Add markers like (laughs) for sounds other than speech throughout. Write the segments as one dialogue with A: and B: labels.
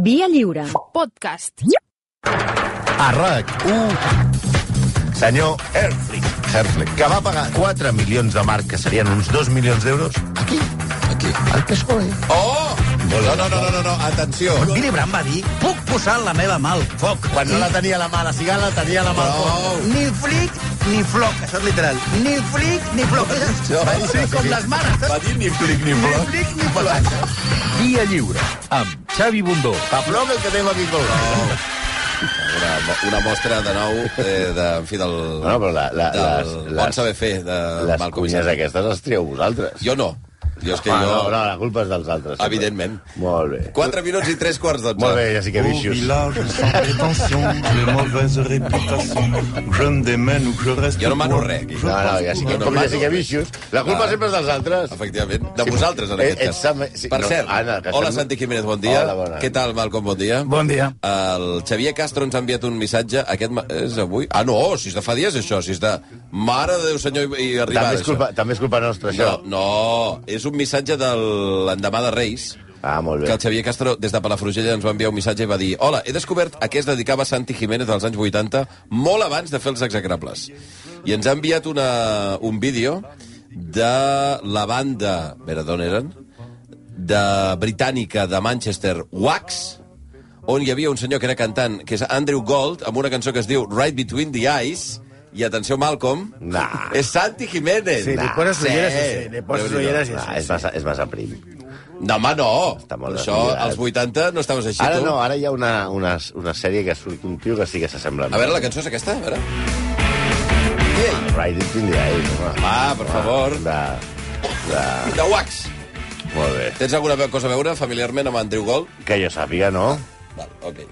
A: Via lliure.
B: Podcast.
C: a RAC1 senyor Herflick, Herflick, que va pagar 4 milions de marc, que serien uns 2 milions d'euros.
D: Aquí, aquí, al PSOE.
C: Oh!
D: No, no, no, no, no, no, atenció.
E: Billy Brandt va dir, puc posar en la meva mà el foc.
C: Quan no la tenia a la mà, la cigala la tenia a la mà.
D: No.
E: Ni flic ni floc, això és literal. Ni flic ni
C: (laughs)
E: floc.
D: No,
E: Va dir com les mares,
D: Va
E: saps?
D: dir ni flic ni
E: Ni
D: floc.
E: flic ni floc.
F: Via Lliure, amb Xavi Bundó.
C: Aplom el que tengo aquí colgado.
D: Una, una mostra de nou eh, de, en fi, del...
C: No, però la- la-
D: del
C: les- les-
D: bon saber fer de
C: Les
D: mal
C: cuines
D: comissari.
C: aquestes les trieu vosaltres.
D: Jo no. Jo és que
C: Ah,
D: jo...
C: no, no, la culpa és dels altres. sempre.
D: Evidentment.
C: Molt bé.
D: 4 minuts i 3 quarts d'onze.
C: Molt bé, ja sí que
G: Au
C: vixos.
G: village sans prétention, j'ai mauvaise réputation. Je me démène ou que je reste.
D: Jo no mano
G: coin.
D: res, aquí.
G: Je
C: No, no,
G: pense
C: ja sí que,
D: No, no,
C: com ja
D: mano,
C: sí que
D: res.
C: vixos. La culpa
D: Ah.
C: sempre és dels altres.
D: Efectivament. De
C: Sí,
D: vosaltres, en
C: eh,
D: aquest
C: ets
D: cas.
C: sam- sí,
D: per
C: no,
D: cert,
C: Anna, que
D: hola,
C: estem-
D: Santi Jiménez, bon dia.
C: Hola, bona.
D: Què tal, Malcom, bon dia?
E: Bon dia.
D: El Xavier Castro ens ha enviat un missatge. Aquest ma- és avui? Ah, no, si és de fa dies, això. Si és de... Mare de Déu, senyor, i, i
C: També
D: arribada,
C: és, culpa, també és culpa nostra,
D: això.
C: això.
D: No, no, és un missatge de l'endemà de Reis.
C: Ah, molt
D: Que
C: bé.
D: el Xavier Castro, des de Palafrugell, ens va enviar un missatge i va dir Hola, he descobert a què es dedicava Santi Jiménez als anys 80, molt abans de fer els execrables. I ens ha enviat una, un vídeo de la banda... A veure, d'on eren? De britànica de Manchester, Wax, on hi havia un senyor que era cantant, que és Andrew Gold, amb una cançó que es diu Right Between the Eyes, i atenció, Malcolm,
C: Nah.
D: és Santi Jiménez.
H: Sí, li
D: Nah.
H: poses ulleres i
D: Sí,
H: sí, li poses
D: Déu-n'hi-do.
H: ulleres i
C: Ah,
H: sí.
C: és massa, és massa prim.
D: No, home, no.
C: Està molt
D: Això,
C: desfigurat.
D: als 80 no estaves així,
C: Ara
D: tu.
C: no, ara hi ha una, una, una sèrie que surt un tio que sí que s'assembla.
D: A veure, la cançó és aquesta, a veure. Ei,
C: Right It in the Eyes, home.
D: Va, per favor.
C: De... de...
D: de Wax.
C: Molt bé.
D: Tens alguna ve- cosa a veure familiarment amb Andrew Gold?
C: Que jo sàpiga, no?
D: Val, ok.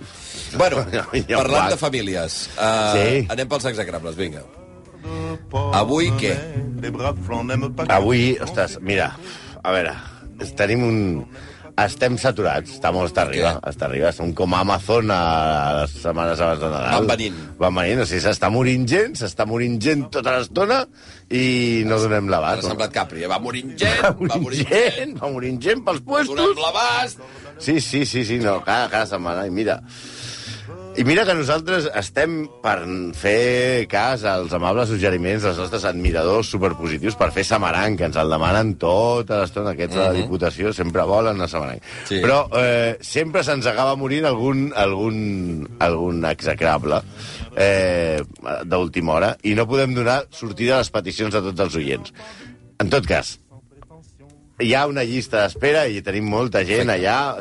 D: Bueno,
C: (laughs) Ja, ja,
D: parlant
C: Wax.
D: de famílies, uh,
C: Sí.
D: anem pels execrables, vinga.
G: Port
D: Avui,
G: de
D: què?
G: mer, Les braves flancs n'aiment pas
C: Avui, ostres, mira, a veure, tenim un... Estem saturats, estamos hasta arriba, hasta arriba. Som com Amazon a les setmanes abans de Nadal.
D: Van venint.
C: Van venint, o sigui, s'està morint gent, s'està morint gent tota l'estona i no donem
D: Ara ha
C: l'abast.
D: semblat Capri. eh? Va morint gent,
C: Ah, Va morint,
D: va morint gent,
C: gent, va morint gent pels
D: donem
C: puestos.
D: l'abast...
C: Sí, sí, sí, sí, no, cada, cada setmana, i mira... I mira que nosaltres estem per fer cas als amables suggeriments dels nostres admiradors superpositius per fer samaranc, que ens el demanen tota l'estona, aquests de la Diputació sempre volen el samaranc.
D: Sí.
C: Però eh, sempre se'ns acaba morint algun, algun, algun execrable eh, d'última hora i no podem donar sortida a les peticions de tots els oients. En tot cas, hi ha una llista d'espera i tenim molta gent allà,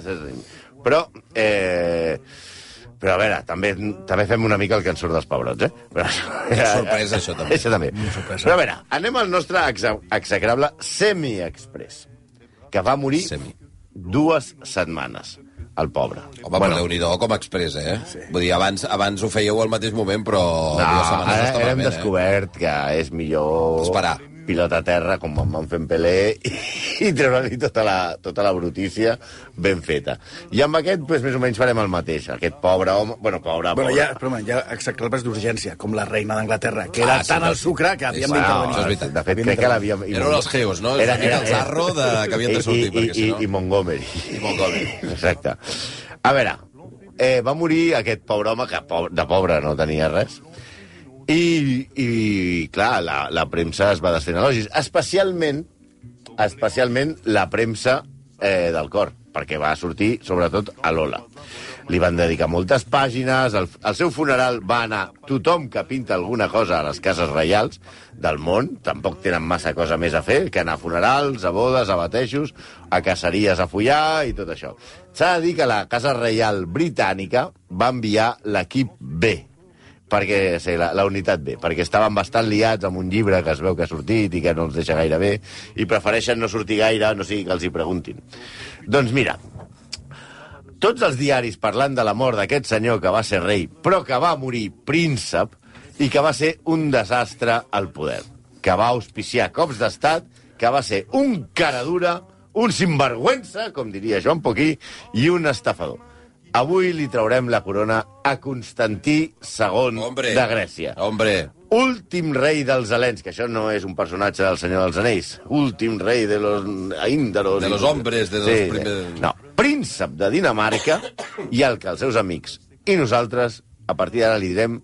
C: però... Eh, però a veure, també, també fem una mica el que ens surt dels pebrots, eh? Però,
D: És sorpresa, això, també.
C: Això també. Però a veure, anem al nostre exe- execrable semi-express, que va morir
D: Semi.
C: dues setmanes, el pobre.
D: Home, bueno. déu nhi com expressa, eh? Sí. Vull dir, abans, abans ho fèieu al mateix moment, però...
C: no, ara, ara
D: eh?
C: hem descobert que és millor...
D: Esperar.
C: pilota a terra, com em van fent Pelé, i, i treure-li tota, la, tota la brutícia ben feta. I amb aquest, doncs, més o menys farem el mateix. Aquest pobre home... Bueno,
H: Ah,
C: pobre,
H: Bueno,
C: pobre.
H: ja, però, home, ja exaclaves d'urgència, com la reina d'Anglaterra, que
D: Ah,
H: era
D: sí,
H: tan
D: no,
H: al sucre que havíem
D: sí,
H: d'intervenir.
D: no, això és veritat.
C: De fet, crec que l'havia...
D: Eh? Eren els geos, no? Era,
C: Era-
D: era,
C: era-
D: el zarro de... que havien de
C: I,
D: sortir,
C: i,
D: perquè si
C: i,
D: no...
C: I Montgomery.
D: I Montgomery.
C: Exacte. A veure, eh, va morir aquest pobre home, que pobre, de pobre no tenia res, i, i clar, la, la premsa es va destinar elogis, especialment, especialment la premsa eh, del cor, perquè va sortir sobretot a Lola. Li van dedicar moltes pàgines, al, al seu funeral va anar tothom que pinta alguna cosa a les cases reials del món, tampoc tenen massa cosa més a fer que anar a funerals, a bodes, a batejos, a caceries a follar i tot això. S'ha de dir que la Casa Reial Britànica va enviar l'equip B, perquè sí, la, la unitat B, perquè estaven bastant liats amb un llibre que es veu que ha sortit i que no els deixa gaire bé, i prefereixen no sortir gaire, no sigui que els hi preguntin. Doncs mira, tots els diaris parlant de la mort d'aquest senyor que va ser rei, però que va morir príncep i que va ser un desastre al poder, que va auspiciar cops d'estat, que va ser un cara dura, un sinvergüenza, com diria Joan Poquí, i un estafador. Avui li traurem la corona a Constantí II
D: Hombre.
C: de Grècia.
D: Hombre,
C: Últim rei dels Helens, que això no és un personatge del Senyor dels Anells. Últim rei de los índaros.
D: De los hombres, de los primers-
C: No, príncep de Dinamarca i el que els seus amics i nosaltres, a partir d'ara, li direm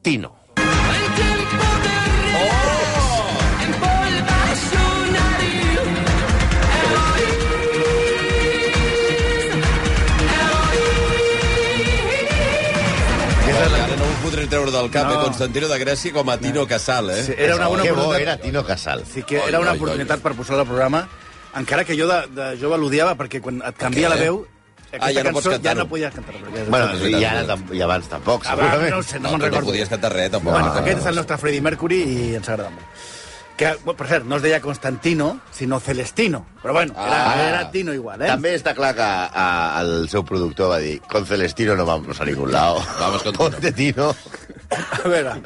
C: Tino.
A: El tiempo de río empolva su nariz.
D: Ara no ho podré treure del cap, no. eh? Constantino de Grècia com a Tino Casal, eh?
H: Sí, era una bona
C: que bo
H: oportunitat.
C: era Tino Casal.
H: Sí que era
D: Oi,
H: una
D: oi,
H: oportunitat per posar al programa, encara que jo de, de jove l'odiava, perquè quan et canvia
D: què?
H: la veu,
D: Ah, ja no pots
H: cançó ja
D: cantar-ho.
H: no podies cantar-la. perquè ja-
C: Bueno,
D: és veritat,
C: i, ara,
D: és veritat.
C: tam- i abans tampoc,
H: Ah, va,
C: segurament.
H: no ho sé, no,
D: tu
H: me'n recordo.
D: No podies cantar res, tampoc.
H: Bueno,
D: Ah.
H: aquest és el nostre Freddie Mercury i ens agrada molt. Que, bueno, per cert, no es deia Constantino, sinó Celestino. Però bueno, era,
D: Ah.
H: era Tino igual, eh?
C: També està clar que a, el seu productor va dir con Celestino no vamos a ningún lado.
D: Vamos con Tino.
C: (laughs) Ponte Tino.
H: A veure,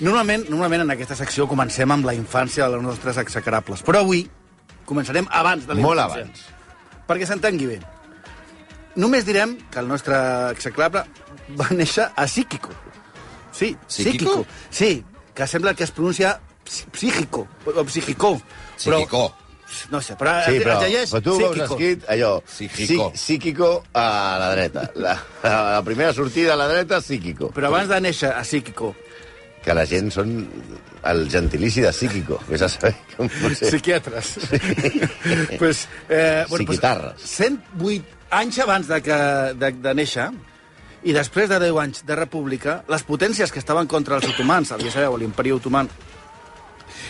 H: normalment, normalment en aquesta secció comencem amb la infància de les nostres execrables, però avui començarem abans de la
C: Molt
H: infància.
C: abans.
H: Perquè s'entengui bé. Només direm que el nostre execrable va néixer a Psíquico. Sí,
D: Psíquico?
H: Psíquico. Sí, que sembla que es pronuncia psí- psíquico, o psíquico. però-
D: Psíquico.
H: No sé, però,
C: Sí, però,
H: es llegeix
C: però tu ho veus
H: psíquico.
C: escrit allò... psí-
D: Psíquico.
C: Psíquico a la dreta. La, la primera sortida a la dreta, psíquico.
H: Però abans de néixer a Psíquico,
C: Que la gent són el gentilici de psíquico. Vés a saber com no sé.
H: Psiquiatres. pues, eh,
C: Psiquitarres.
H: 108 anys abans de, que, de, de néixer, i després de 10 anys de república, les potències que estaven contra els otomans, ja sabeu, l'imperi otomà,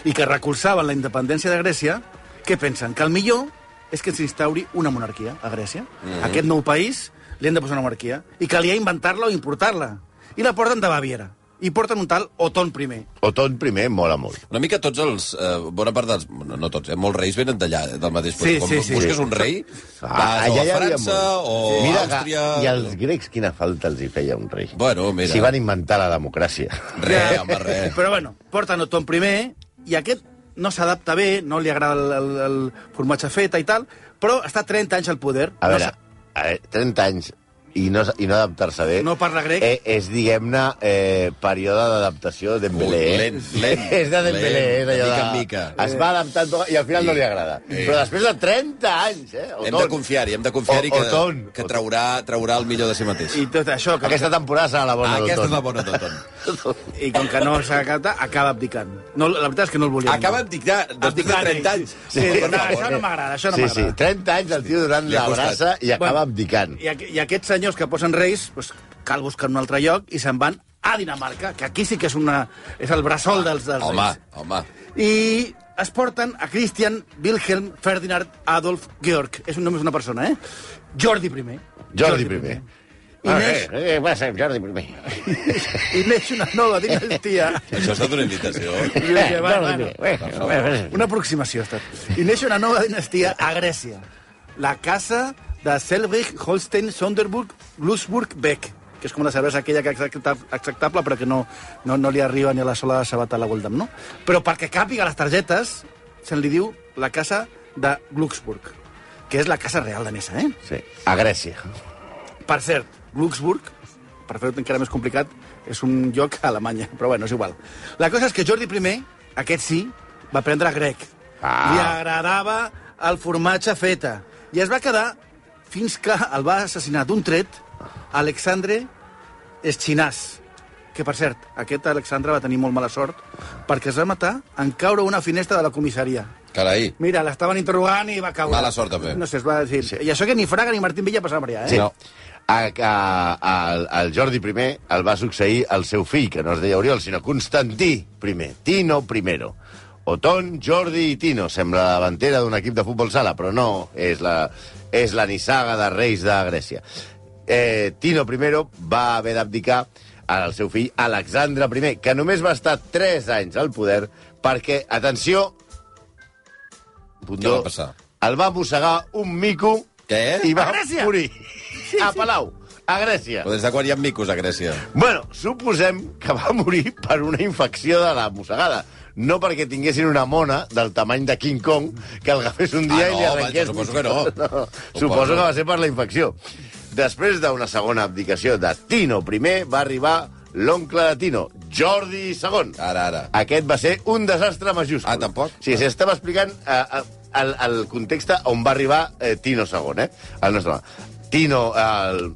H: i que recolzaven la independència de Grècia, què pensen? Que el millor és que s'instauri una monarquia a Grècia. Mm -hmm. Aquest nou país li han de posar una monarquia i calia inventar-la o importar-la. I la porten de Baviera. I porten un tal Oton I.
C: Oton primer mola molt.
D: Una mica tots els... Eh, bona part dels... No, no tots, eh? Molts reis venen d'allà, eh, del mateix
H: Sí,
D: lloc.
H: sí, Ah, sí.
D: busques un rei, vas o
C: Ah, allà
D: a
C: hi havia
D: Ah, França
C: molt.
D: o
C: Sí.
D: a
C: Mira que-
D: Àustria...
C: I als grecs quina falta els hi feia un rei.
D: Bueno, mira.
C: Si van inventar la democràcia.
D: Re, home, re.
H: (laughs) Però bueno, porten Tom primer i aquest no s'adapta bé, no li agrada el, el, el formatge feta i tal, però està 30 anys al poder.
C: A
H: no
C: veure, a veure 30 anys i no, i no adaptar-se bé...
H: No parla grec.
C: Eh, és, diguem-ne, eh, període d'adaptació de Dembélé.
D: Ui,
C: eh?
D: lent,
C: (laughs)
D: lent,
C: és de Dembélé,
D: lent,
C: eh? d'allò
D: de mica
C: de-
D: en mica.
C: Es va adaptant to- i al final
D: Sí.
C: no li agrada.
D: Eh.
C: Però després de 30 anys, eh?
D: Hem de confiar-hi, hem de confiar-hi
C: O-
D: que,
C: Oton.
D: que traurà, traurà el millor de si mateix. Ah,
H: I tot això, com
C: Aquesta temporada serà la bona
D: Aquesta és
C: d'Oton. (laughs)
D: la bona
H: (laughs)
D: d'Oton.
H: que, i com que no s'acata, acaba abdicant. No, la veritat és que no el volia.
D: Acaba amb dictat, després de
H: Abdicant,
D: 30
H: eh?
D: anys. eh?
H: Sí,
D: Per
H: no,
D: favor.
H: això no m'agrada, això no
C: sí, sí,
H: m'agrada.
C: 30 anys el tio donant
D: Li ha
C: la
D: costat.
C: brasa i acaba
H: Bueno,
C: abdicant.
H: I, aqu- I aquests senyors que posen reis, doncs, cal buscar un altre lloc i se'n van a Dinamarca, que aquí sí que és, una, és el bressol dels, dels
D: Home,
H: reis.
D: home.
H: i es porten a Christian Wilhelm Ferdinand Adolf Georg. És un nom és una persona, eh? Jordi I.
C: Jordi primer.
H: I neix,
C: eh, eh, va ser Jordi primer.
H: I neix una nova
C: (laughs)
H: dinastia.
D: Això ha estat una
H: (laughs)
D: invitació.
H: I jo dije, va,
C: Jordi
H: bueno,
C: primer. Eh, eh, eh, eh.
H: una aproximació ha estat. I neix una nova dinastia a Grècia. La casa de Selbrich, Holstein, Sonderburg, Lusburg, Beck que és com la cervesa aquella que és accepta- acceptable però que no, no, no li arriba ni a la sola de sabata a la Goldam, no? Però perquè càpiga les targetes, se'n li diu la casa de Glucksburg, que és la casa real danesa, eh?
C: Sí, a Grècia.
H: Per cert, Luxemburg, per fer-ho encara més complicat, és un lloc a Alemanya, però bueno, és igual. La cosa és que Jordi I, aquest sí, va aprendre grec.
C: Ah.
H: Li agradava el formatge feta. I es va quedar fins que el va assassinar d'un tret Alexandre Eschinàs. Que, per cert, aquest Alexandre va tenir molt mala sort perquè es va matar en caure una finestra de la comissaria.
D: Carai.
H: Mira, l'estaven interrogant i va caure.
D: Mala sort, també.
H: No sé, es va dir...
C: Sí.
H: I això que ni Fraga ni Martín Villa passava per allà, eh?
C: Sí. No. A, a, a, el Jordi I el va succeir el seu fill, que no es deia Oriol, sinó Constantí I, Tino I. Oton, Jordi i Tino. Sembla la davantera d'un equip de futbol sala, però no, és la, és la nissaga de reis de Grècia. Eh, Tino I va haver d'abdicar al seu fill Alexandre I, que només va estar 3 anys al poder perquè, atenció,
D: Què
C: Pundó,
D: va passar?
C: el va mossegar un mico
D: Què?
C: i va
H: A Grècia?
C: morir a Ah, Palau, a Grècia.
D: Però des de quan hi ha micos a Grècia?
C: Bueno, suposem que va morir per una infecció de la mossegada, no perquè tinguessin una mona del tamany de King Kong que el agafés un dia
D: Ah,
C: i li
D: no,
C: arrenqués...
D: vaja, suposo que
C: no.
D: no. Suposo.
C: Suposo que va ser per la infecció. Després d'una segona abdicació de Tino I, va arribar l'oncle de Tino, Jordi II.
D: Ara, ara.
C: Aquest va ser un desastre majúscul.
D: Ah, tampoc?
C: Sí, sí, estava explicant eh, eh, el, el context on va arribar eh, Tino II, eh? El nostre home. Tino, eh, el,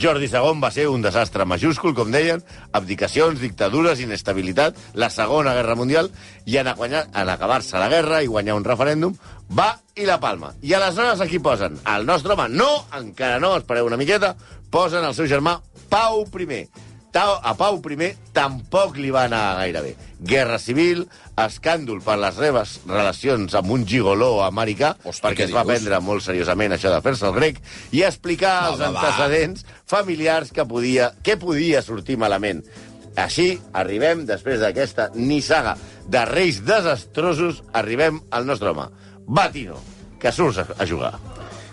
C: Jordi II va ser un desastre majúscul, com deien, abdicacions, dictadures, inestabilitat, la Segona Guerra Mundial, i en, a guanyar- en acabar-se la guerra i guanyar un referèndum, va i la palma. I aleshores aquí posen el nostre home, no, encara no, espereu una miqueta, posen el seu germà Pau I. Tau, a Pau I tampoc li va anar gaire bé. Guerra civil, escàndol per les seves relacions amb un gigoló americà,
D: Hosti,
C: perquè
D: què
C: es va
D: dius?
C: prendre molt seriosament això de fer-se el grec, i explicar els
D: va, va.
C: antecedents familiars que podia, que podia sortir malament. Així, arribem, després d'aquesta nissaga de reis desastrosos, arribem al nostre home, Batino, que surts a, a jugar.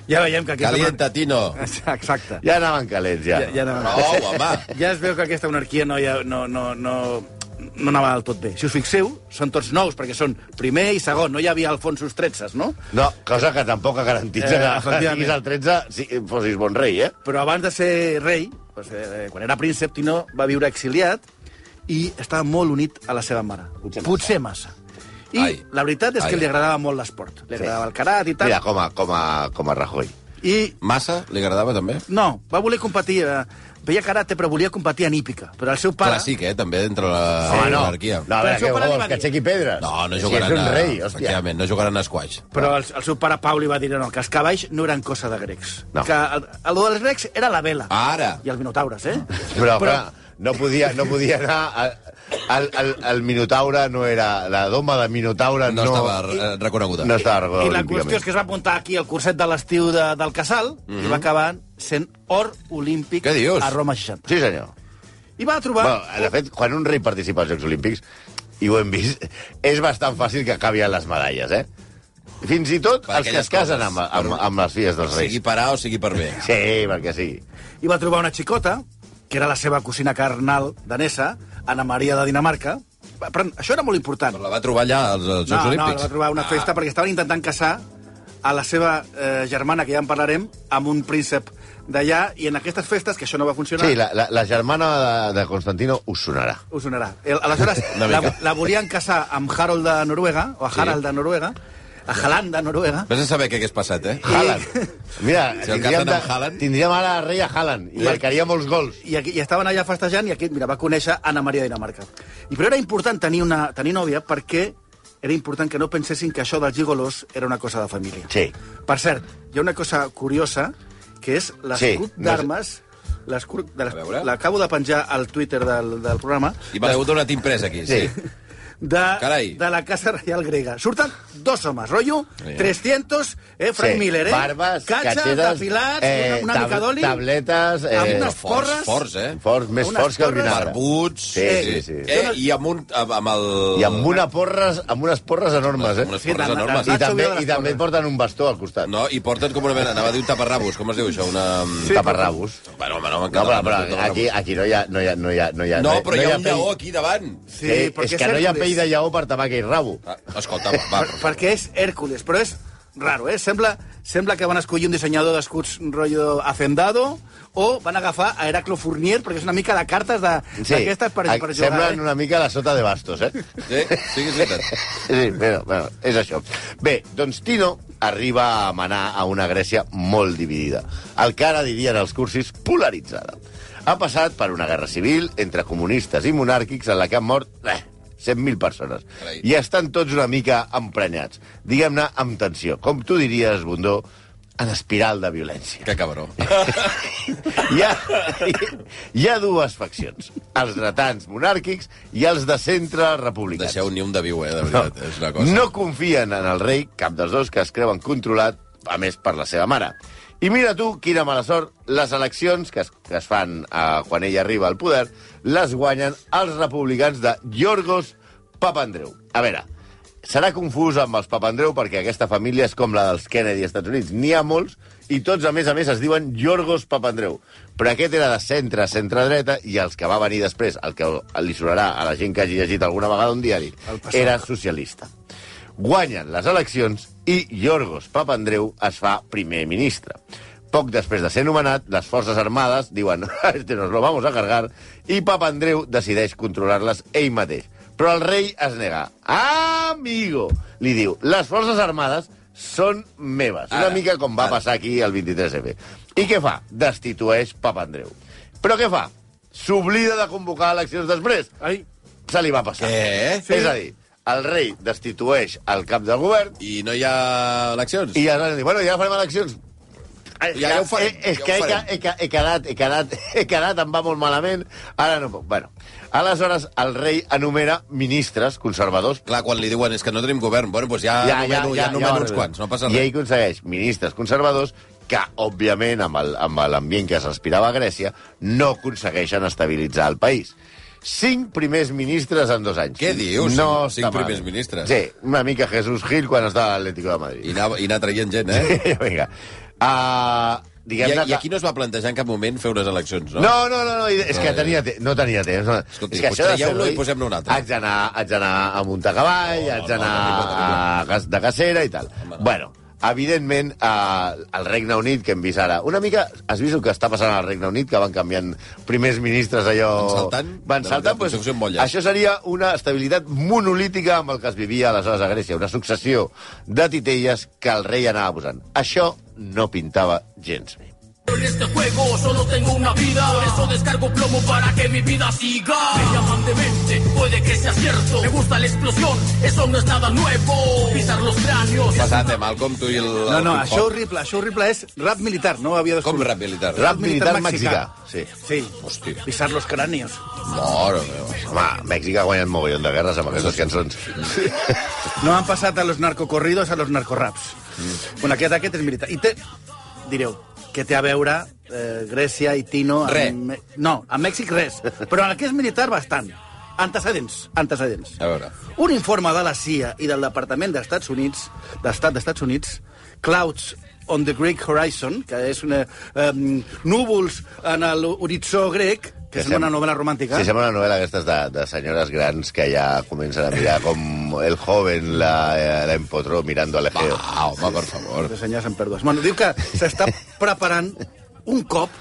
H: Ja veiem que aquesta...
D: Calienta, Tino.
H: (laughs) Exacte.
C: Ja anaven calents, ja.
H: Ja, ja,
D: No,
H: anava...
D: home.
H: ja es veu que aquesta anarquia no, ja, no, no, no, no anava del tot bé. Si us fixeu, són tots nous, perquè són primer i segon. No hi havia Alfonsos XIII, no?
C: No, cosa que tampoc garantitza
H: Eh,
C: eh, que
H: efectivament.
C: siguis el 13 si fossis bon rei, eh?
H: Però abans de ser rei, doncs, eh, quan era príncep, Tino va viure exiliat i estava molt unit a la seva mare. Potser massa. Potser massa. I
D: Ai.
H: la veritat és que
D: Ai.
H: li agradava molt l'esport. Li agradava el carat i tal.
C: Mira, com a, com a, com a Rajoy.
H: I
D: Massa, li agradava també?
H: no, va voler competir... Eh, veia karate, però volia competir en hípica. Però el seu pare...
D: Clàssic, eh, també, entre la
C: Home, no.
D: monarquia.
C: No, a
H: Però
C: veure, què
H: això per
C: vols,
H: animar
C: que
H: aquí.
C: aixequi pedres?
D: No, no
C: Si
D: jugaran
C: ets un
D: a...
C: rei, hòstia.
D: Efectivament, no jugaran a squash.
H: Però el, el seu pare Pau li va dir no, que els cavalls no eren cosa de grecs.
C: No.
H: Que el, el dels grecs era la vela.
D: Ara!
H: I els minotaures, eh?
C: Però, però... Clar, no podia, no podia anar... A, el, el, el Minotaure no era... La doma de Minotaure
D: No,
C: no
D: estava eh, reconeguda.
C: No
H: I
C: estava regulada
H: la qüestió és que es va apuntar aquí al curset de l'estiu de, del Casal i va acabar sent or olímpic
D: Què dius?
H: a Roma 60.
C: Sí, senyor.
H: I va trobar...
C: Bueno, de fet, quan un rei participa als Jocs Olímpics, i ho hem vist, (laughs) és bastant fàcil que acabi a les medalles, eh? Fins i tot
D: Per
C: els que
D: aquelles
C: es casen
D: coses.
C: amb, amb, amb les filles dels reis.
D: Sigui per A o sigui per B.
C: Sí, perquè sí.
H: I va trobar una xicota, que era la seva cosina carnal danesa, Anna Maria de Dinamarca. Va, Però això era molt important.
D: La va trobar allà als, als Jocs
H: no, no,
D: Olímpics. Ah.
H: va trobar una festa perquè estaven intentant casar a la seva eh, germana, que ja en parlarem, amb un príncep d'allà, i en aquestes festes, que això no va funcionar,
C: Sí, la, la, la germana de, de Constantino us sonarà.
H: us sonarà. El- Aleshores,
D: (laughs) Una
H: la,
D: mica.
H: la volien casar amb Harold de Noruega, o a Harald de Noruega, a Haaland de Noruega,
D: Vés a saber què hagués passat, eh?
C: Haaland.
H: (laughs)
C: Mira,
D: Si el
C: tindríem,
D: casen
C: de,
D: amb Haaland.
C: tindríem ara el rei a Haaland i marcaria molts gols.
H: i, aquí, i estaven allà festejant, i aquí, mira, va conèixer Anna Maria de Dinamarca. I però era important tenir, una, tenir nòvia perquè era important que no pensessin que això dels gigolos era una cosa de família.
C: Sí.
H: Per cert, hi ha una cosa curiosa, que és l'escut
C: Sí,
H: sí,
C: no és-
H: d'armes... l'escut de les-
D: A veure.
H: L'acabo de penjar al Twitter del, del programa
D: I m'heu donat imprès aquí, sí.
H: de,
D: Carai.
H: de la Casa Reial Grega. Surten dos homes, rotllo,
D: Sí.
H: 300, eh, Frank
C: sí. eh,
H: Miller, eh?
C: Barbes,
H: Catxes,
C: catxetes,
H: depilats, una, una mica d'oli...
C: Tabletes... Eh,
H: amb unes
D: Forts,
H: porres.
D: forts, eh?
C: Forts, més
H: Unes
C: forts que el
H: torres.
C: vinagre.
D: Barbuts.
C: Sí, sí, sí.
D: Eh, I amb un... Amb, amb el...
C: I amb, una porres, amb unes porres enormes, eh?
D: Eh? Amb unes
H: Sí,
D: porres
H: la- la-
D: enormes. Ah,
C: I
H: la-
C: també,
H: Nacho viu de
C: i
H: les
C: també
H: porres.
C: porten un bastó al costat.
D: No, i porten com una mena... Anava a dir un taparrabos, com es diu això? Una... mm,
C: Sí, Taparrabos.
D: Bueno, home, no, en
C: No, però,
D: català es diu
C: però
D: taparrabos.
C: aquí, aquí no hi ha... No, hi ha, no, hi ha, no, hi ha,
D: No, però hi ha un
C: pell-
D: lleó aquí davant.
H: Sí,
C: Sí, és
H: perquè
C: que no hi ha
H: Hèrcules.
C: pell de lleó per tapar aquell rabo.
D: Ah, Escolta, va,
C: (laughs)
D: va.
H: Per, perquè és Hèrcules, però és raro, eh? Sembla, sembla que van escollir un dissenyador d'escuts rotllo hacendado o van agafar a Heraclo Fournier, perquè és una mica de cartes de-
C: Sí,
H: d'aquestes per, per
C: a-
H: jugar.
C: semblen
H: eh?
C: una mica la sota de bastos, eh?
D: Sí, sí que és veritat.
C: Sí, bueno, bueno, és això. Bé, doncs Tino arriba a manar a una Grècia molt dividida. El que ara dirien els cursis, polaritzada. Ha passat per una guerra civil entre comunistes i monàrquics en la que han mort eh, 100.000 persones.
D: Carai.
C: I estan tots una mica emprenyats. Diguem-ne amb tensió. Com tu diries, Bundó, en espiral de violència.
D: Que cabró.
C: Hi ha, (laughs) hi ha dues faccions. Els dretans monàrquics i els de centre republicans.
D: Deixeu ni un de viu, eh, de veritat. És una cosa.
C: Doncs No confien en el rei, cap dels dos, que es creuen controlat, a més, per la seva mare. I mira tu, quina mala sort, les eleccions que es, que es fan eh, quan ell arriba al poder les guanyen els republicans de Yorgos Papandreu. A veure, serà confús amb els Papandreu perquè aquesta família és com la dels Kennedy als Estats Units. N'hi ha molts i tots, a més a més, es diuen Yorgos Papandreu. Però aquest era de centre, centre-dreta, i els que va venir després, el que li sonarà a la gent que hagi llegit alguna vegada un diari, era socialista guanyen les eleccions i Yorgos Papandreu es fa primer ministre. Poc després de ser nomenat, les forces armades diuen "Ah, «Este nos lo vamos a cargar» i Papandreu decideix controlar-les ell mateix. Però el rei es nega. «Amigo!», li diu, «les forces armades són meves». Una
D: Ara,
C: mica com va
D: ara.
C: passar aquí el 23F. I què fa? Destitueix Papandreu. Però què fa? S'oblida de convocar eleccions després.
H: Ai,
C: Se li va passar.
D: Què?
C: Sí. És a dir, el rei destitueix el cap del govern
D: I no hi ha eleccions?
C: i aleshores diu, bueno, ja farem eleccions.
D: Ja- ja ho farem,
C: Eh, És
D: ja ho
C: que he, he, he, he,
D: farem.
C: quedat, he, quedat, (laughs) he quedat, em va molt malament, ara no puc. Bueno, aleshores el rei enumera ministres conservadors
D: Clar, quan li diuen és que no tenim govern, bueno, doncs
C: Ah,
D: ja, ja, nomeno, ja, ja, nomeno uns quants, no passa
C: I
D: res.
C: ell aconsegueix ministres conservadors que, òbviament, amb el- amb l'ambient que s'aspirava a Grècia, no aconsegueixen estabilitzar el país. Cinc primers ministres en dos anys.
D: Què dius?
C: No
D: Cinc
C: està
D: primers
C: malament.
D: ministres.
C: Sí, una mica Jesús Gil quan estava a l'Atlético de
D: I
C: Madrid.
D: anar, I anar traient gent, eh?
C: (laughs) Vinga. Uh,
D: I,
C: diguem-ne
D: I aquí no es va plantejar en cap moment fer unes eleccions, no?
C: no, no, no, no, és que tenia, te- no tenia temps. No.
D: Escolti,
C: és que
D: potser traieu-lo i posem-ne un altre.
C: Haig d'anar, haig d'anar a muntar cavall, no, haig
D: no,
C: d'anar
D: no, no, no,
C: a cas- de cacera i tal.
D: Home, no.
C: Bueno, evidentment, eh, el Regne Unit, que hem vist ara... Una mica, has vist el que està passant al Regne Unit, que van canviant primers ministres allò...
D: Van saltant?
C: Van
D: De-
C: saltant,
D: de successió en
C: doncs,
D: molles.
C: això seria una estabilitat monolítica amb el que es vivia aleshores a Grècia, una successió de titelles que el rei anava posant. Això no pintava gens bé.
B: En este juego solo tengo una vida, por eso descargo plomo para que mi vida siga. Me llaman demente, puede que sea cierto. Me gusta la explosión, eso no es nada nuevo. Pisar los cráneos.
D: Passat, eh, Malcolm, tu i el...
H: no, no,
D: el
H: això horrible, això horrible és rap militar, no ho havia
D: Com
H: descobert.
D: rehabilitar?
C: Rap militar mexicà. Sí.
H: Sí.
D: Hòstia.
H: Pisar los cráneos.
D: Mora meva.
C: Home, Mèxic ha guanyat mogollon de guerres amb aquestes cançons.
H: No han passat a los narcocorridos a los narcoraps. Mm. Bueno, aquest, aquest és militar. I té, direu, què té a veure eh, Grècia i Tino... amb
D: Re.
H: Me- No, a Mèxic res. Però en aquest militar bastant. Antecedents, antecedents.
D: A veure.
H: Un informe de la CIA i del Departament d'Estats Units, d'Estat d'Estats Units, Clouds on the Greek Horizon, que és una, um, núvols en l'horitzó grec, que, que
C: Que
H: sembla
C: sem-
H: una novel·la romàntica.
C: Sí, sembla una novel·la aquestes de, de senyores grans que ja comencen a mirar com el joven la, eh, la empotró mirando al
D: Va,
C: ejeo.
D: home, per favor.
H: de senyors en pèrdues. Bueno, diu que s'està preparant un cop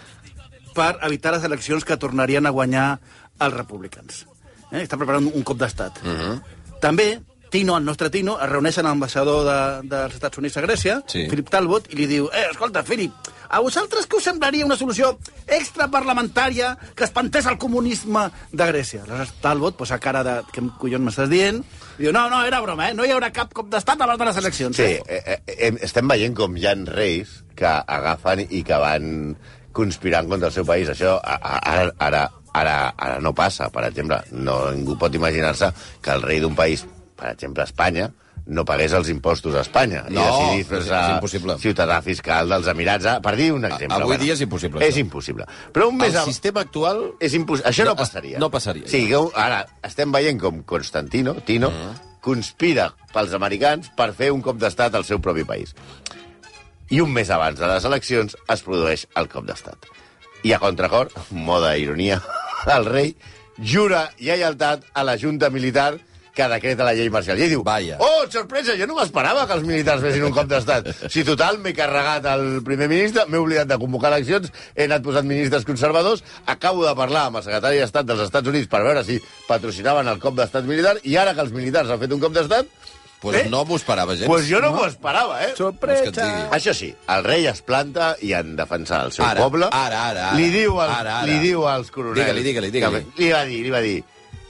H: per evitar les eleccions que tornarien a guanyar els republicans. Eh? Està preparant un cop d'estat. Uh -huh. També Tino, el nostre Tino, es reuneix amb l'ambaixador de, dels Estats Units a Grècia,
D: Sí.
H: Philip Talbot, i li diu, eh, escolta, Philip, a vosaltres què us semblaria una solució extraparlamentària que espantés el comunisme de Grècia? Aleshores, Talbot posa cara de què collons m'estàs dient, i diu, no, no, era broma, eh? no hi haurà cap cop d'estat abans de les eleccions.
C: Sí,
H: eh?
C: eh, eh, em- estem veient com hi ha reis que agafen i que van conspirant contra el seu país. Això a- a- ara, ara, ara, ara no passa, per exemple. No, ningú pot imaginar-se que el rei d'un país, per exemple Espanya, no pagués els impostos a Espanya
D: No,
C: i
D: és-
C: decidís
D: és impossible.
C: ciutadà fiscal dels Emirats, ah, per dir un exemple.
D: avui dia és impossible,
C: És
D: això.
C: impossible. Però un
D: El
C: mes av-
D: sistema actual...
C: és impos... Això no,
D: No,
C: passaria.
D: no passaria.
C: Sí, que un- ara estem veient com Constantino, Tino,
D: Mm.
C: conspira pels americans per fer un cop d'estat al seu propi país. I un mes abans de les eleccions es produeix el cop d'estat. I a contracor, moda ironia, (laughs) el rei jura lleialtat a la junta militar que decreta la llei marcial. I diu,
D: Vaya.
C: oh, sorpresa, jo no m'esperava que els militars fessin un cop d'estat. Si total, m'he carregat el primer ministre, m'he oblidat de convocar eleccions, he anat posant ministres conservadors, acabo de parlar amb el secretari d'Estat dels Estats Units per veure si patrocinaven el cop d'estat militar, i ara que els militars han fet un cop d'estat,
D: Pues no m'ho esperava gens.
C: doncs pues jo no, m'ho esperava, eh?
D: Vols que et digui?
C: Això sí, el rei es planta i en defensa del seu
D: Ara,
C: poble.
D: ara, ara, ara.
C: Li diu, al,
D: Ara, ara.
C: Li diu als coronels...
D: Digue-li, digue-li, digue-li.
C: que- Li va dir, li va dir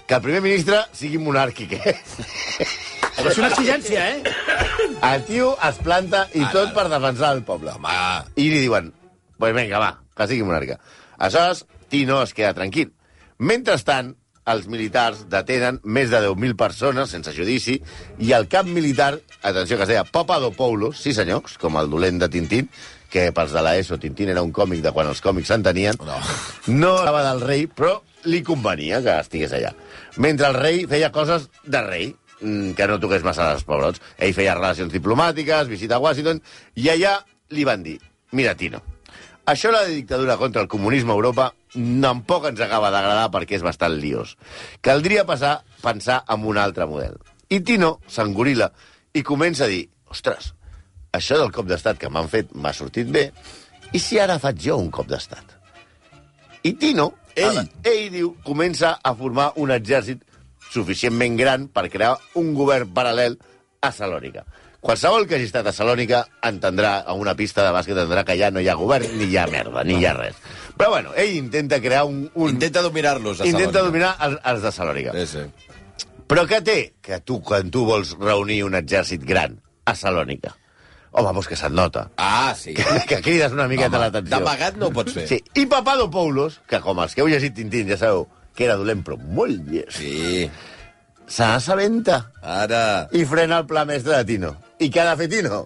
C: que el primer ministre sigui monàrquic, eh?
H: Però és una exigència, eh?
C: El tio es planta i
D: Ara,
C: tot
D: ara.
C: per defensar el poble.
D: Home,
C: I li diuen, pues vinga, va, que sigui monarca. Aleshores, Tino es queda tranquil. Mentrestant, els militars detenen més de 10.000 persones sense judici i el cap militar, atenció que es deia Papadopoulos, sí senyors, com el dolent de Tintín, que pels de l'ESO Tintín era un còmic de quan els còmics s'entenien,
D: No.
C: no estava del rei, però li convenia que estigués allà. Mentre el rei feia coses de rei, mm, que no toqués massa als pobrots. Ell feia relacions diplomàtiques, visita a Washington, i allà li van dir, mira, Tino, això de la dictadura contra el comunisme a Europa tampoc ens acaba d'agradar perquè és bastant liós. Caldria passar pensar en un altre model. I Tino s'engorila i comença a dir, ostres, això del cop d'estat que m'han fet m'ha sortit bé, i si ara faig jo un cop d'estat? I Tino,
D: Ell?
C: ara, ell diu, comença a formar un exèrcit suficientment gran per crear un govern paral·lel a Salònica. Qualsevol que hagi estat a Salònica entendrà, a una pista de bàsquet, entendrà que ja no hi ha govern, ni hi ha merda, ni hi ha res. Però bueno, ell intenta crear un... un
D: Intenta dominar-los. a
C: intenta
D: Salònica.
C: dominar els, els de Salònica.
D: Sí, sí.
C: Però què té? Que tu, quan tu vols reunir un exèrcit gran a Salònica, home, doncs que se't nota,
D: Ah, sí.
C: que crides una miqueta
D: Home,
C: l'atenció.
D: D'amagat no ho pots fer.
C: Sí, i Papadopoulos, que com els que heu llegit Tintín ja sabeu que era dolent però molt llest,
D: Sí.
C: se n'assabenta
D: Ara...
C: i frena el pla mestre de Tino. I què ha de fer Tino?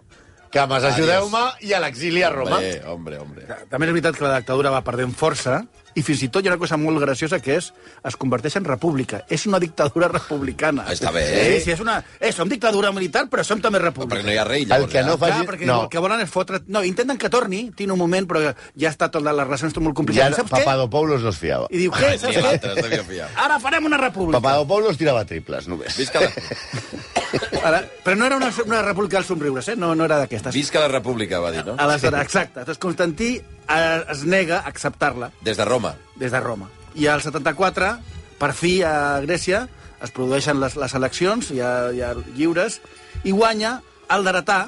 C: Que mas ajudeu-me i a l'exili a Roma.
D: Bé, hombre, hombre.
H: També és veritat que la dictadura va perdent força i fins i tot hi ha una cosa molt graciosa que és es converteix en república. És una dictadura republicana.
D: Ah, Està bé.
H: Sí, sí, és una... Eh, som dictadura militar, però som també
D: Perquè
H: república.
D: no hi ha rei,
C: El
D: llavors.
C: que no
H: Clar,
D: ja.
C: faci...
H: perquè
C: no,
H: el que volen és fotre... No, intenten que torni, tinc un moment, però ja està tot, les relacions són molt
C: ja
H: complicades. I saps què?
C: Papadopoulos no es fiava.
H: I diu, què?
D: Ah, Ni
H: Saps
D: l'altre,
H: què?
D: s'havia fiat.
H: Ara farem una república.
C: Papadopoulos tirava triples, només.
D: Visca la,
C: (laughs)
H: Ara, però no era una, una república dels somriures, eh? No, no era d'aquestes.
D: visca la república, va dir, no?
H: Aleshores, exacte. Aleshores, Constantí eh, es nega a acceptar-la
D: Des de Roma.
H: des de Roma. I al 74, per fi, a Grècia, es produeixen les, les eleccions, ja, ja lliures, i guanya el d'Heretà,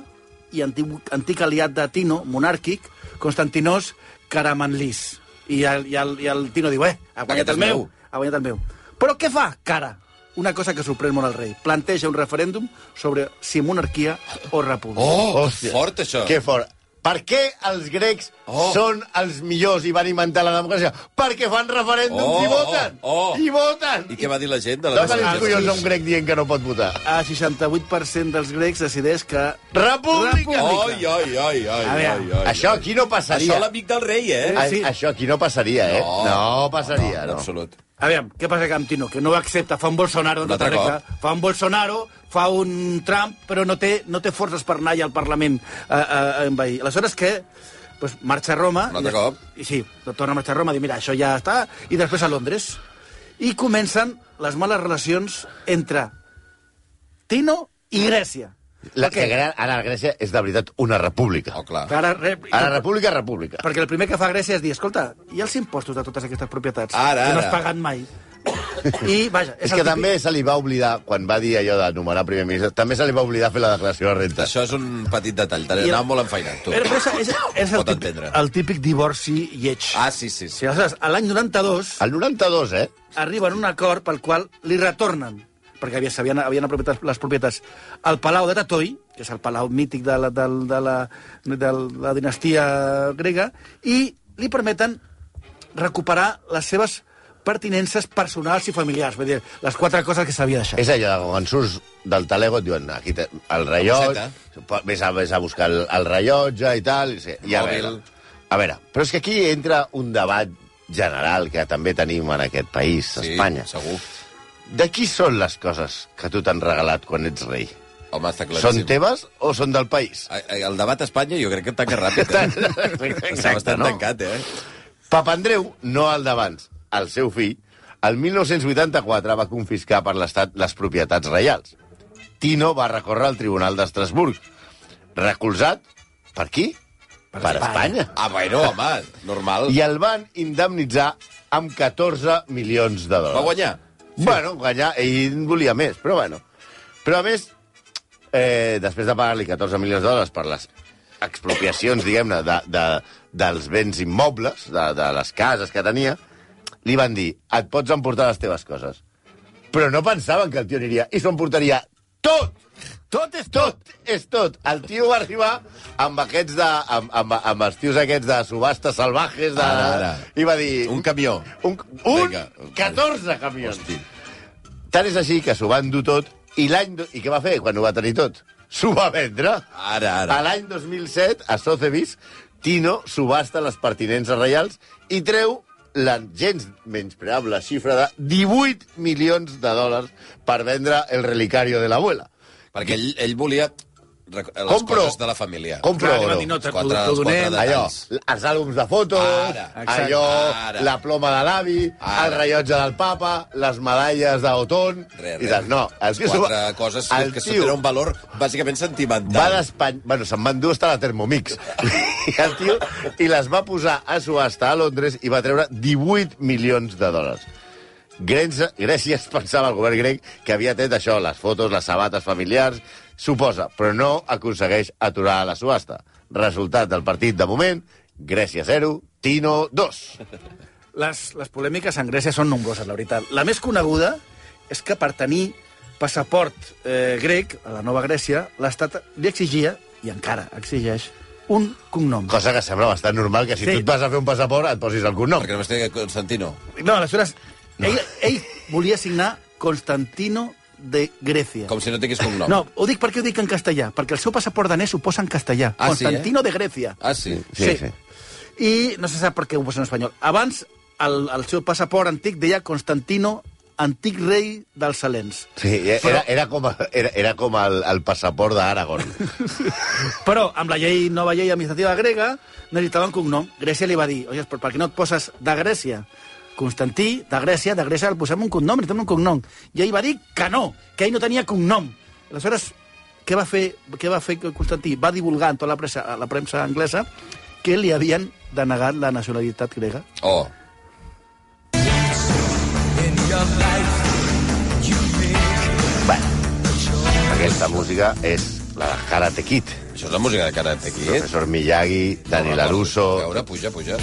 H: i antic, antic aliat de Tino, monàrquic, Constantinos Caramanlis. I el, i el, i el Tino diu, eh, ha
D: Aquest
H: guanyat
D: és
H: el meu.
D: meu.
H: Ha guanyat el meu. Però què fa, cara? Una cosa que sorprèn molt al rei. Planteja un referèndum sobre si monarquia o república.
D: Oh,
C: Hòstia.
D: fort, això.
C: Que fort. Per què els grecs
D: Oh.
C: oh. són els millors i van inventar la democràcia? Perquè fan referèndums
D: Oh,
C: i voten!
D: oh, oh.
C: I voten!
D: I què va dir la gent de la
C: No tenim
D: Gràcia?
C: collons a un grec dient que no pot votar.
H: El 68% dels grecs decideix que...
C: República!
D: Ai, ai, ai, ai,
H: A
D: ai,
H: veure,
D: ai, ai.
C: Això aquí no
D: Això
C: passaria.
D: l'amic del rei, eh?
C: A-
H: Sí.
C: Això aquí no passaria, eh?
D: No.
C: no passaria,
D: en
C: no.
D: absolut.
H: Aviam, què passa que amb Tino? Que no ho accepta, fa un Bolsonaro,
D: Un
H: no
D: altre
H: regla, fa un Bolsonaro, fa un Trump, però no té, no té forces per anar allà al Parlament eh, a, a, a envair. Aleshores, què? Pues marxa a Roma...
D: Un altre
H: i
D: cop.
H: I sí, torna a marxar a Roma, dir, mira, això ja està, i després a Londres. I comencen les males relacions entre Tino i Grècia.
C: La,
H: Perquè-
C: que Gra- ara Grècia és de veritat una república.
D: Oh, clar.
H: Ara, rep,
C: Ara república, república.
H: Perquè el primer que fa Grècia és dir, escolta, i els impostos de totes aquestes propietats?
D: Ara,
H: Que no
D: ara.
H: has pagat mai. (coughs) I, vaja...
C: És
H: el
C: que
H: típic-
C: també se li va oblidar, quan va dir allò de nomenar primer ministre, també se li va oblidar fer la declaració de renta.
D: Això és un petit detall. T'anava
H: I el-
D: molt enfeinat, tu.
H: Però és,
D: (laughs)
H: és, és el,
D: Pot
H: típic,
D: entendre.
H: el típic divorci lleig.
D: Ah, sí, sí,
H: Sí,
D: sí.
H: aleshores, a l'any 92
C: El 92, eh?
H: arriben a un acord pel qual li retornen, perquè havia, s'havien- havien apropiat les propietats, al Palau de Tatoi, que és el palau mític de la, de, de, la, de la dinastia grega, i li permeten recuperar les seves pertinences personals i familiars, vull dir, les quatre coses que s'havia deixat.
C: És allò, de quan surts del talego et diuen, aquí te, el rellotge, vés a, vés a buscar el, el rellotge i tal, i, sí, i a
D: Mòbil.
C: veure. A veure, però és que aquí entra un debat general que també tenim en aquest país,
D: Sí,
C: Espanya.
D: segur.
C: De qui són les coses que tu t'han regalat quan ets rei?
D: Home, està
C: Són
D: claríssim.
C: teves o són del país?
D: Ai, ai, El debat a Espanya jo crec que tanca ràpid. Eh? Està bastant tancat, eh?
C: Papandreu, no el d'abans, el seu fill, el 1984 va confiscar per l'Estat les propietats reials. Tino va recórrer al Tribunal d'Estrasburg, recolzat per qui? Per, per Espanya.
D: Ah, bueno, home, normal.
C: I el van indemnitzar amb 14 milions de dòlars.
D: Va guanyar.
C: Bueno, guanyar, ell en volia més, però bueno. Però a més, eh, després de pagar-li 14 milions de dòlars per les expropiacions, diguem-ne, de, de, dels béns immobles, de, de les cases que tenia, li van dir, et pots emportar les teves coses. Però no pensaven que el tio aniria i s'ho emportaria tot! Tot és tot! És tot! El tio va arribar amb aquests de... amb, amb, amb els tios aquests de subhastes salvajes de,
D: Ara, ara.
C: i va dir...
D: Un camió.
C: Un, un
D: Vinga.
C: 14 camions!
D: Hosti.
C: Tant és així que s'ho va endur tot i l'any... do- I què va fer quan ho va tenir tot? S'ho va vendre.
D: Ara, ara.
C: A l'any 2007, a Sotheby's, Tino subhasta les pertinences reials i treu la gens menyspreable xifra de 18 milions de dòlars per vendre el relicario de l'abuela.
D: Perquè ell, ell volia rec- les
C: Compro.
D: coses de la família.
C: Compro
H: Clar, li van
C: oro.
H: dir, no,
D: Els
H: t'ho
D: quatre- els quatre
H: donem.
D: detalls.
C: Allò, els àlbums de fotos,
D: Ara,
H: exacte.
C: allò,
D: Ara.
C: la ploma de l'avi,
D: Ara.
C: el rellotge del papa, les medalles d'Oton...
D: Re, re.
C: I tal. No, el tio s'ho va-
D: Quatre coses
C: el
D: que
C: tio-
D: tenen un valor bàsicament sentimental.
C: va d'Espanya... Bueno, se'n van dur hasta la Thermomix. (laughs) I el tio... I les va posar a subhasta a Londres i va treure 18 milions de dòlars. Grècia, Grècia es pensava el govern grec que havia tret això, les fotos, les sabates familiars, suposa, però no aconsegueix aturar la subhasta. Resultat del partit de moment, Grècia 0, Tino 2.
H: Les, les polèmiques en Grècia són nombroses, la veritat. La més coneguda és que per tenir passaport eh, grec a la Nova Grècia, l'Estat li exigia, i encara exigeix, un cognom.
C: Cosa que sembla bastant normal que si
H: Sí.
C: tu et vas a fer un passaport et posis el cognom.
D: Perquè només té Constantino.
H: No, aleshores, ell, ell volia signar Constantino de Grècia.
D: Com si no tingués cognom.
H: No, ho dic perquè ho dic en castellà, perquè el seu passaport danès ho posa en castellà.
D: Ah, sí, eh?
H: Constantino de Grècia.
D: Ah, sí.
C: Sí, sí.
H: I no se sap per què ho posa en espanyol. Abans, el, el seu passaport antic deia Constantino, antic rei dels Salens.
C: Sí, era, era com, era, era com el, el passaport d'Aragorn.
H: Però amb la llei nova llei administrativa grega necessitava un cognom. Grècia li va dir, oi, però per què no et poses de Grècia? Constantí, de Grècia, de Grècia, el posem un cognom, necessitem un cognom. I ell va dir que no, que ell no tenia cognom. Aleshores, què va fer, què va fer Constantí? Va divulgar en tota la premsa, a la premsa anglesa que li havien denegat la nacionalitat grega.
D: Oh.
C: Aquesta música és la de Karate Kid.
D: Això és la música de Karate Kid.
C: Professor Miyagi, Dani Laruso...
D: A veure, puja, puja.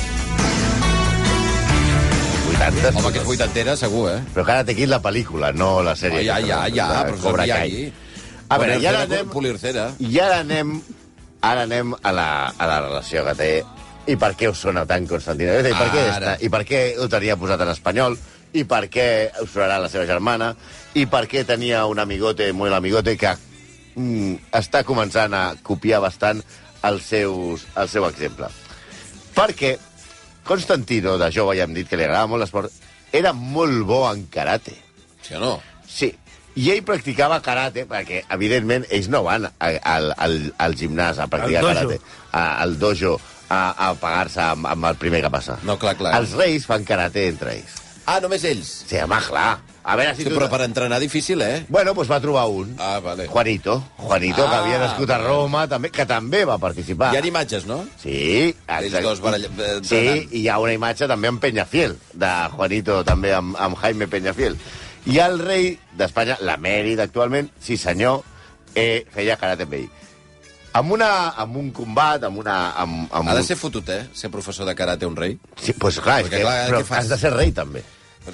C: 80.
D: Home, que és vuitantera, segur, eh?
C: Però Karate Kid la pel·lícula, no la sèrie.
D: Ja, ja, ja, ja,
C: De
D: professor
C: Cobra Kai.
D: Miyagi.
C: A veure, i ara
D: Polircera,
C: anem...
D: Polircera.
C: I ara anem, ara anem a, la, a la relació que té i per què us sona tant Constantina Greta, i per, què
D: Ara.
C: està, i per què ho tenia posat en espanyol, i per què us sonarà la seva germana, i per què tenia un amigote, molt amigote, que mm, està començant a copiar bastant els seus, el seu exemple. Perquè Constantino, de jove ja hem dit que li agradava molt l'esport, era molt bo en karate.
D: Sí o no?
C: Sí. I ell practicava karate, perquè, evidentment, ells no van a- al, al, al gimnàs a practicar
H: Al dojo.
C: karate, a, al dojo, a, a pagar-se amb, amb el primer que passa.
D: No, clar, clar.
C: Els reis fan karate entre ells.
D: Ah, només ells.
C: Sí, home, clar. A veure si
D: Sí,
C: tu...
D: però per entrenar difícil, eh?
C: Bueno, doncs va trobar un.
D: Ah, vale.
C: Juanito. Juanito, que
D: Ah,
C: havia nascut a Roma, també que també va participar.
D: Hi ha imatges, no?
C: Sí, exacte.
D: dos barall- eh,
C: Sí,
D: entrenant.
C: i hi ha una imatge també amb Peñafiel, de Juanito, també amb, amb Jaime Peñafiel. I el rei d'Espanya, l'emèrit actualment, sí senyor, eh, feia karate amb ell. Amb, una, amb un combat, amb una... Amb, amb
D: Ha de
C: un-
D: ser fotut, eh? Ser professor de karate un rei.
C: Sí, pues clar, és
D: Perquè,
C: que,
D: clar,
C: però
D: què fas?
C: has de ser rei també.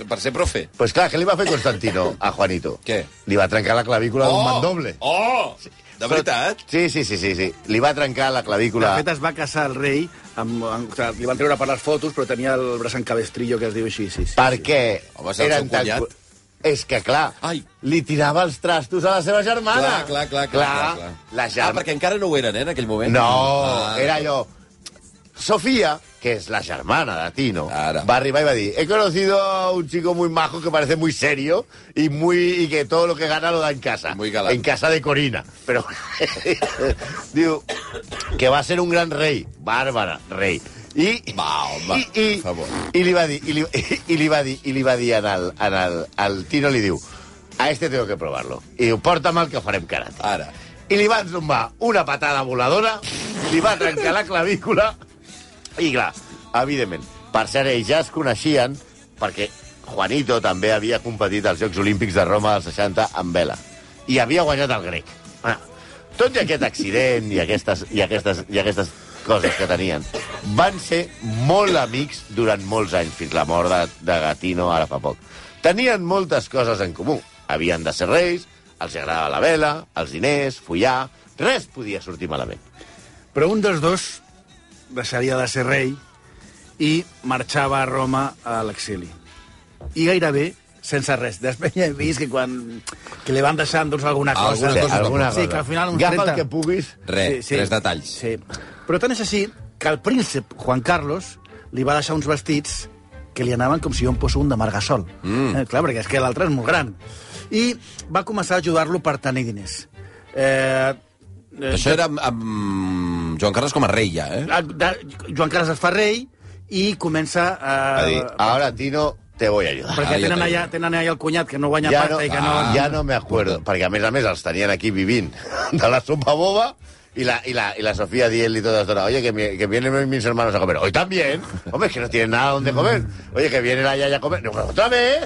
D: Per ser profe.
C: Pues clar, què li va fer Constantino a Juanito?
D: (laughs) Què?
C: Li va trencar la clavícula d'un mandoble.
D: Oh! De veritat?
C: Sí, sí, sí, sí, sí. Li va trencar la clavícula...
H: De fet, es va casar el rei, amb, amb, o sigui, li van treure per les fotos, però tenia el braç encabestrillo, que es diu així, sí, sí.
C: perquè
D: Home, és el seu
C: tan
D: cunyat.
C: cu- És que, clar,
D: Ai.
C: li tirava els trastos a la seva germana.
D: Clar, clar, clar, clar, clar, clar.
C: La germana...
D: Ah, perquè encara no ho eren, eh, en aquell moment?
C: No,
D: Ah,
C: era allò... Sofía, que es la hermana de Tino,
D: Claro.
C: va arriba y va a decir, he conocido a un chico muy majo que parece muy serio y muy y que todo lo que gana lo da en casa.
D: Muy galán.
C: En casa de Corina. Pero (laughs) digo, que va a ser un gran rey. Bárbara, rey. Y,
D: Va, home,
C: i, i,
D: per favor.
C: i li va dir, i li, (laughs) i li va dir, i li va dir en el, en el, al Tino li diu, a este tengo que provarlo. I diu, porta'm el que farem karate
D: Ara.
C: i li van zumbar una patada voladora, li va trencar la clavícula i, clar, evidentment, per cert, ells ja es coneixien perquè Juanito també havia competit als Jocs Olímpics de Roma del 60 amb vela i havia guanyat el grec. Ah, tot i aquest accident i aquestes, i aquestes, i aquestes coses que tenien, van ser molt amics durant molts anys, fins la mort de, de Gatino ara fa poc. Tenien moltes coses en comú. Havien de ser reis, els agradava la vela, els diners, follar... Res podia sortir malament.
H: Però un dels dos deixaria de ser rei i marxava a Roma a l'exili. I gairebé sense res. Després ja he vist que quan que li van deixant doncs, alguna cosa.
D: Alguna
H: Sí,
D: cosa
H: alguna
D: va
H: cosa. Sí, que al final... uns
C: Agafa
H: 30
C: el que puguis.
D: Res, tres detalls.
H: Sí. Però tant és així que el príncep Juan Carlos li va deixar uns vestits que li anaven com si jo em poso un de Margasol. Mm. Eh, clar, perquè és que l'altre és molt gran. I va començar a ajudar-lo per tenir diners. Eh, eh,
D: Això era amb, amb Joan Carles com a rei, ja, eh?
H: Ah, de- Joan Carles es fa rei i comença a...
C: Va dir, ara, Tino, te voy a ayudar.
H: perquè
D: Ah, ja
H: tenen
D: t'agrada.
H: allà, tenen allà el cunyat que no guanya
C: Ja
H: pasta
C: no,
H: i que no...
C: ah, ja no me acuerdo, perquè a més a més els tenien aquí vivint (laughs) de la sopa boba i la, i la, i la Sofía dient-li tota l'estona, oye, que, mi- que vienen mis hermanos
H: Mm.
C: a comer. Hoy también. Hombre, es que no tienen nada donde comer. Oye, que viene la yaya a comer. No, otra vez.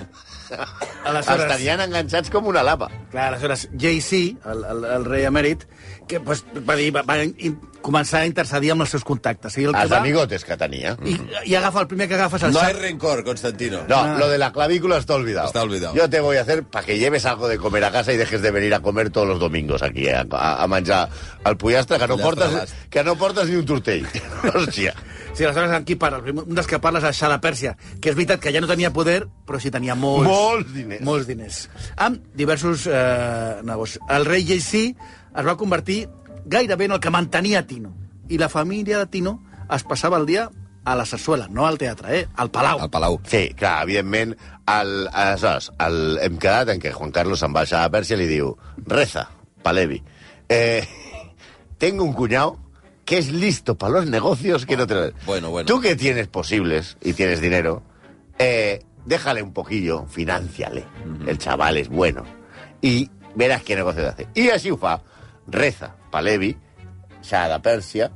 H: Aleshores-
C: Els tenien enganxats com una lapa.
H: Clar, aleshores, Jay-Z, el, el, el rei emèrit, que pues, va, dir, va, va in, començar a intercedir amb els seus contactes. I, el que
C: Els
H: va, Mm.
C: amigotes que tenia.
H: i, I agafa el primer que agafes el
D: No hay
H: sac.
D: rencor, Constantino.
C: No, lo de la clavícula está olvidado.
D: Está olvidado.
C: Yo te voy a hacer para que lleves algo de comer a casa y dejes de venir a comer todos los domingos aquí eh, a, a menjar al pollastre, que no,
D: Pollastre
C: portes,
D: bast.
C: que no portes ni un tortell. (laughs) Hòstia.
H: Sí, aleshores amb qui parles? Primer, Un dels que parles és Xala Pèrsia, que és veritat que ja no tenia poder, però sí tenia molts...
C: Molts diners.
H: Molts diners. Amb diversos eh, negocis. El rei Jay-Z es va convertir gairebé en el que mantenia Tino. I la família de Tino es passava el dia a la sarsuela, no al teatre, eh? Al Palau.
D: Al Palau.
C: Sí, clar, evidentment, el, aleshores, el, hem quedat en que Juan Carlos se'n baixa a Pèrsia i li diu reza, Palevi. Eh, tengo un cuñado que es listo para los negocios que no te lo-
D: Bueno, bueno.
C: Tú que tienes posibles y tienes dinero, eh, déjale un poquillo, financiale. El chaval es bueno. Y verás qué negocio te hace. Y así ufa, reza, Palevi, Shah de Pèrsia,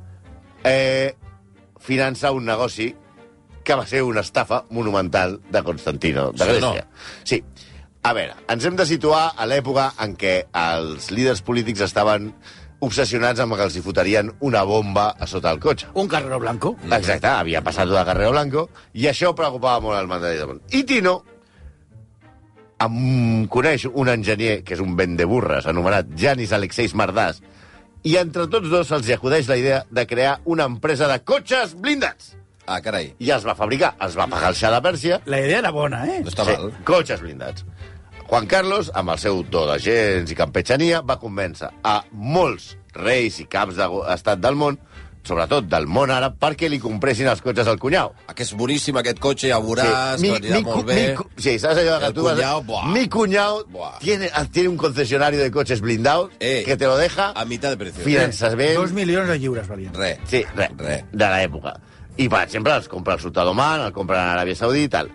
C: eh, finança un negoci que va ser una estafa monumental de Constantino, de
D: Sí o
C: Grècia. Sí. A veure, ens hem de situar a l'època en què els líders polítics estaven obsessionats amb que els hi fotarien una bomba a sota el cotxe.
H: Un carrero blanco.
C: Exacte, havia passat de Carrero Blanco i això preocupava molt el mandat de món. I Tino em coneix un enginyer que és un vent de burres anomenat Janis Alexeis Mardàs i entre tots dos se'ls hi acudeix la idea de crear una empresa de cotxes blindats.
D: Ah, carai.
C: I els va fabricar, els va pagar el xà de Pèrsia
H: La idea era bona, eh?
D: No està mal.
C: cotxes blindats. Juan Carlos, amb el seu do de gens i campetxania, va convèncer a molts reis i caps d'estat del món, sobretot del món àrab, perquè li compressin els cotxes al cunyau.
D: Ah, que és boníssim aquest cotxe, ja ho veuràs, sí. t'anirà
C: cu-
D: molt bé.
C: mi cu- sí, saps allò que
D: El
C: tú vas-
D: cuñao, buah.
C: Mi cuñado
D: Buah.
C: tiene, tiene un concesionario de coches blindados
D: Eh,
C: que te lo deja...
D: a mitad de precio. eh?
C: Finances bé...
H: Dos milions de lliures valien.
D: Re.
C: Sí, re,
D: Re.
C: de l'època. I, per exemple, els compra el sultà d'Oman, el compra a Aràbia Saudí i tal.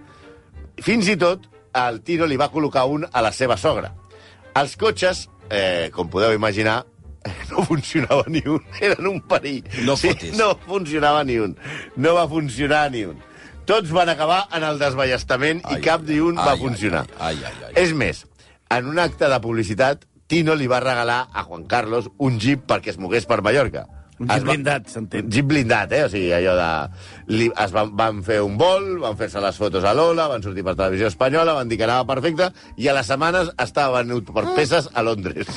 C: Fins i tot, el Tino li va col·locar un a la seva sogra. Els cotxes, eh, com podeu imaginar, (laughs) no funcionava ni un. Eren un perill.
D: No fotis.
C: No funcionava ni un. No va funcionar ni un. Tots van acabar en el desballestament
D: Ai,
C: i cap ni un
D: ai,
C: va
D: ai,
C: funcionar.
D: ai, ai, ai, ai.
C: És més, en un acte de publicitat, Tino li va regalar a Juan Carlos un jeep perquè es mogués per Mallorca.
H: Un jeep
C: Es va-
H: blindat, s'entén.
C: Jeep blindat, eh? O sigui, allò de... Li, es van, van fer un vol, van fer-se les fotos a l'Ola, van sortir per televisió espanyola, van dir que anava perfecte, i a les setmanes estava venut per peces a
H: (laughs)
C: Londres.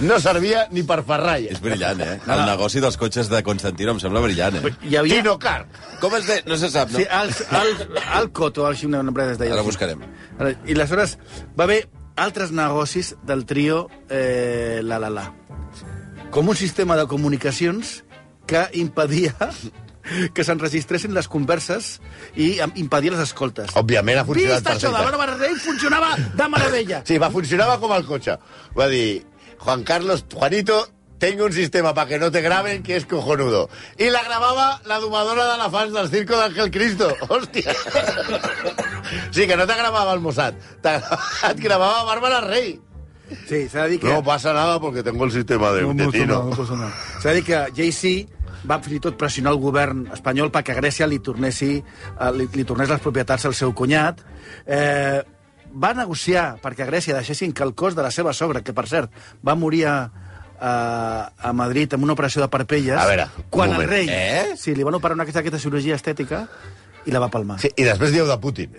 C: No servia ni per ferralla.
D: És brillant, eh? El negoci dels cotxes de Constantino em sembla brillant, eh?
H: Hi havia...
C: Tino Car.
D: Com es de... No se sap, no?
C: ah,
H: Sí, al, al, al Coto, al Ximena Nombrades deia.
D: Ara buscarem.
H: Ara, I aleshores va haver altres negocis del trio eh, La La La. Com un sistema de comunicacions que impedia (laughs) que s'enregistressin les converses i em- impedia les escoltes.
C: Òbviament ha funcionat
H: Vist això de
C: perfecte.
H: Bàrbara Rey funcionava de meravella.
C: Sí, va, funcionava com el cotxe. Va dir, Juan Carlos, Juanito, tengo un sistema para que no te graben que es cojonudo. Y la grabava la domadora de la fans del circo d'Àngel Cristo. (laughs) Hòstia. Sí, que no te gravava el Mossad. Te (laughs) et gravava Bàrbara Rey.
H: Sí, s'ha de dir que...
C: No pasa nada porque tengo el sistema de, de Tino.
H: S'ha de dir que Jay-Z va fins i tot pressionar el govern espanyol perquè a Grècia li, tornessi, eh, li, li tornés les propietats al seu cunyat. Eh, va negociar perquè a Grècia deixessin que el cos de la seva sogra, que per cert va morir a, a, a Madrid amb una operació de parpelles...
C: A veure, un
H: quan el
C: moment.
H: rei...
D: Eh?
H: Sí, li van operar una aquesta, aquesta cirurgia estètica i la va palmar.
C: Sí, I després dieu de Putin.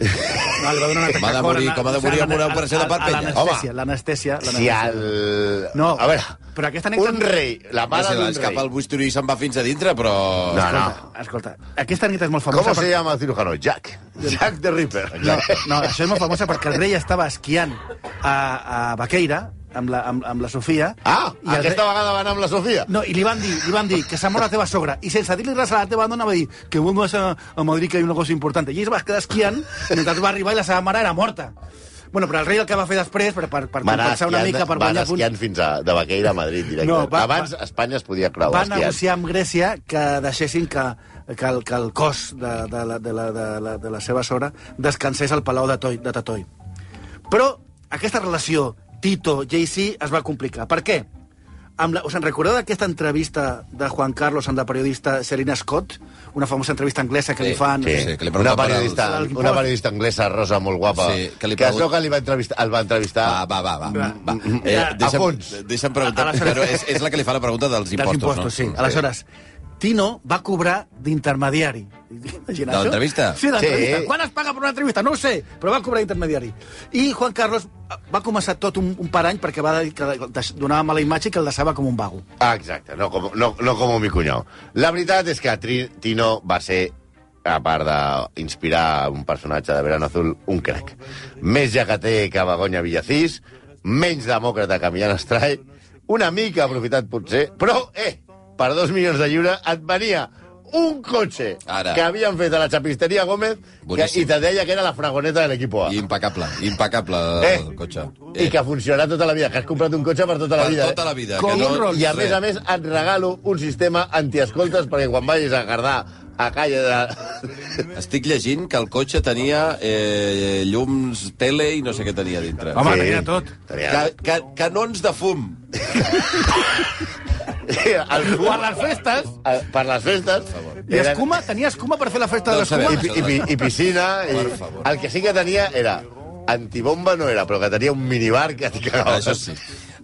H: No, li va donar un atac
D: Com ha de
H: al cor,
D: morir-
H: anar-
D: com ha de morir amb una
H: a- a-
D: operació de
H: a- a
D: parpelles?
H: L'anestèsia, l'anestèsia...
C: Si
H: l'anestèsia.
C: el...
H: No,
C: a veure,
H: però aquesta anècdota-
C: un rei, la
D: No
C: mare
D: se
C: d'un
D: l'escapa
C: rei...
D: el busturi i se'n va fins a dintre, però...
C: No, no.
H: Escolta, escolta, aquesta anècdota és molt famosa...
C: Com
H: perquè-
C: se llama el cirujano? Jack. Jack the Ripper.
H: No, no, això és molt famosa perquè el rei estava esquiant a, a Baqueira amb la, amb, amb la Sofia.
C: Ah,
H: el
C: aquesta
H: rei-
C: vegada va anar amb la Sofia.
H: No, i li van dir, li van dir que s'ha mort la teva sogra. I sense dir-li res a la teva dona va dir que vuelves a, a Madrid que hi ha una cosa important. I es va quedar esquiant mentre va arribar i la seva mare era morta. Bueno, però el rei el que va fer després, per, per, per
C: Va anar
H: compensar una
C: esquiant-
H: mica, per
C: va
H: guanyar
C: anar
H: punts,
C: esquiant fins a, de Baqueira a Madrid directament.
H: No, va-
C: Abans
H: va-
C: Espanya es podia creuar
H: va
C: esquiant.
H: negociar amb Grècia que deixessin que, que, el, que el cos de, de, la, de, la, de, la, de la seva sogra descansés al palau de, Toi, de Tatoi. Però aquesta relació Tito-JC es va complicar. Per què? amb la, us en recordeu d'aquesta entrevista de Juan Carlos amb la periodista Serena Scott? Una famosa entrevista anglesa que
D: Sí,
H: li fan...
C: Sí,
D: Sí, que li
C: una,
D: pregunta per
C: periodista,
H: als- als-
C: una periodista anglesa rosa molt guapa
D: Sí, que
C: que,
D: li
C: que es
D: pregun-
C: veu que li va entrevistar, el va entrevistar
D: Va, va, va. va.
H: Va.
D: va.
C: Mm,
D: Eh,
H: Ja.
C: A
D: deixa'm,
C: fons.
D: deixa'm preguntar.
H: A la-
D: Però és, és la que li fa la pregunta dels
H: dels
D: impostos,
H: impostos,
D: no?
H: sí. Aleshores, Tino va cobrar d'intermediari. Imagina
D: De
H: això?
D: l'entrevista?
H: Sí, de l'entrevista.
C: Sí.
H: Sí. Quan es paga per una entrevista? No ho sé, però va cobrar d'intermediari. I Juan Carlos eh, va començar tot un, un parany perquè va dir que deix- donava mala imatge i que el deixava com un vago.
C: Ah, exacte, no com, no, no com mi cunyau. La veritat és que Tri Tino va ser, a part d'inspirar un personatge de Verano Azul, un crac. Més jacater que Begoña Villacís, menys demòcrata que Millán Estrai, una mica aprofitat potser, però, eh, per dos milions de lliure et venia un cotxe
D: Ara.
C: que havien fet a la xapisteria Gómez que,
D: Boníssim.
C: i te deia que era la fragoneta de l'equip A.
D: I Eh, impecable, impecable
C: Eh.
D: el cotxe.
C: I que funcionarà tota la vida, que has comprat un cotxe per tota la
D: per
C: vida.
D: tota
C: eh?
D: la vida.
H: Com
D: que
H: un
D: no,
H: Rolls
C: I a més a més et regalo un sistema antiescoltes perquè quan vagis a Cardà, a Calle de...
D: Estic llegint que el cotxe tenia eh, llums, tele i no sé què tenia dintre.
H: Home, tenia tot.
C: Tenia...
D: Ca, ca, canons de fum.
C: El fum,
H: Per les festes...
C: eh, per les festes...
H: I escuma, tenia escuma per fer la festa de
D: Doncs a
H: l'escuma?
D: veure.
C: I, i, i piscina... I...
D: Per favor.
C: El que sí que tenia era... Antibomba no era, però que tenia un minibar que t'hi
D: Ah,
C: cagava.
D: això sí.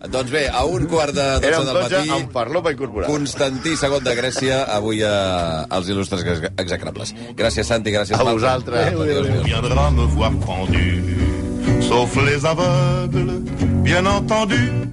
D: Doncs bé, a un quart de
C: Era
D: dotze
C: un
D: del
C: cotxe
D: matí...
C: amb farlopa incorporada.
D: Constantí II de Grècia, avui a, als il·lustres ex- execrables. Gràcies, Santi, gràcies,
C: A
D: Marta.
C: vosaltres.
D: Adéu, adéu, adéu.
G: viendra me voir pendu, sauf les aveugles, bien entendu.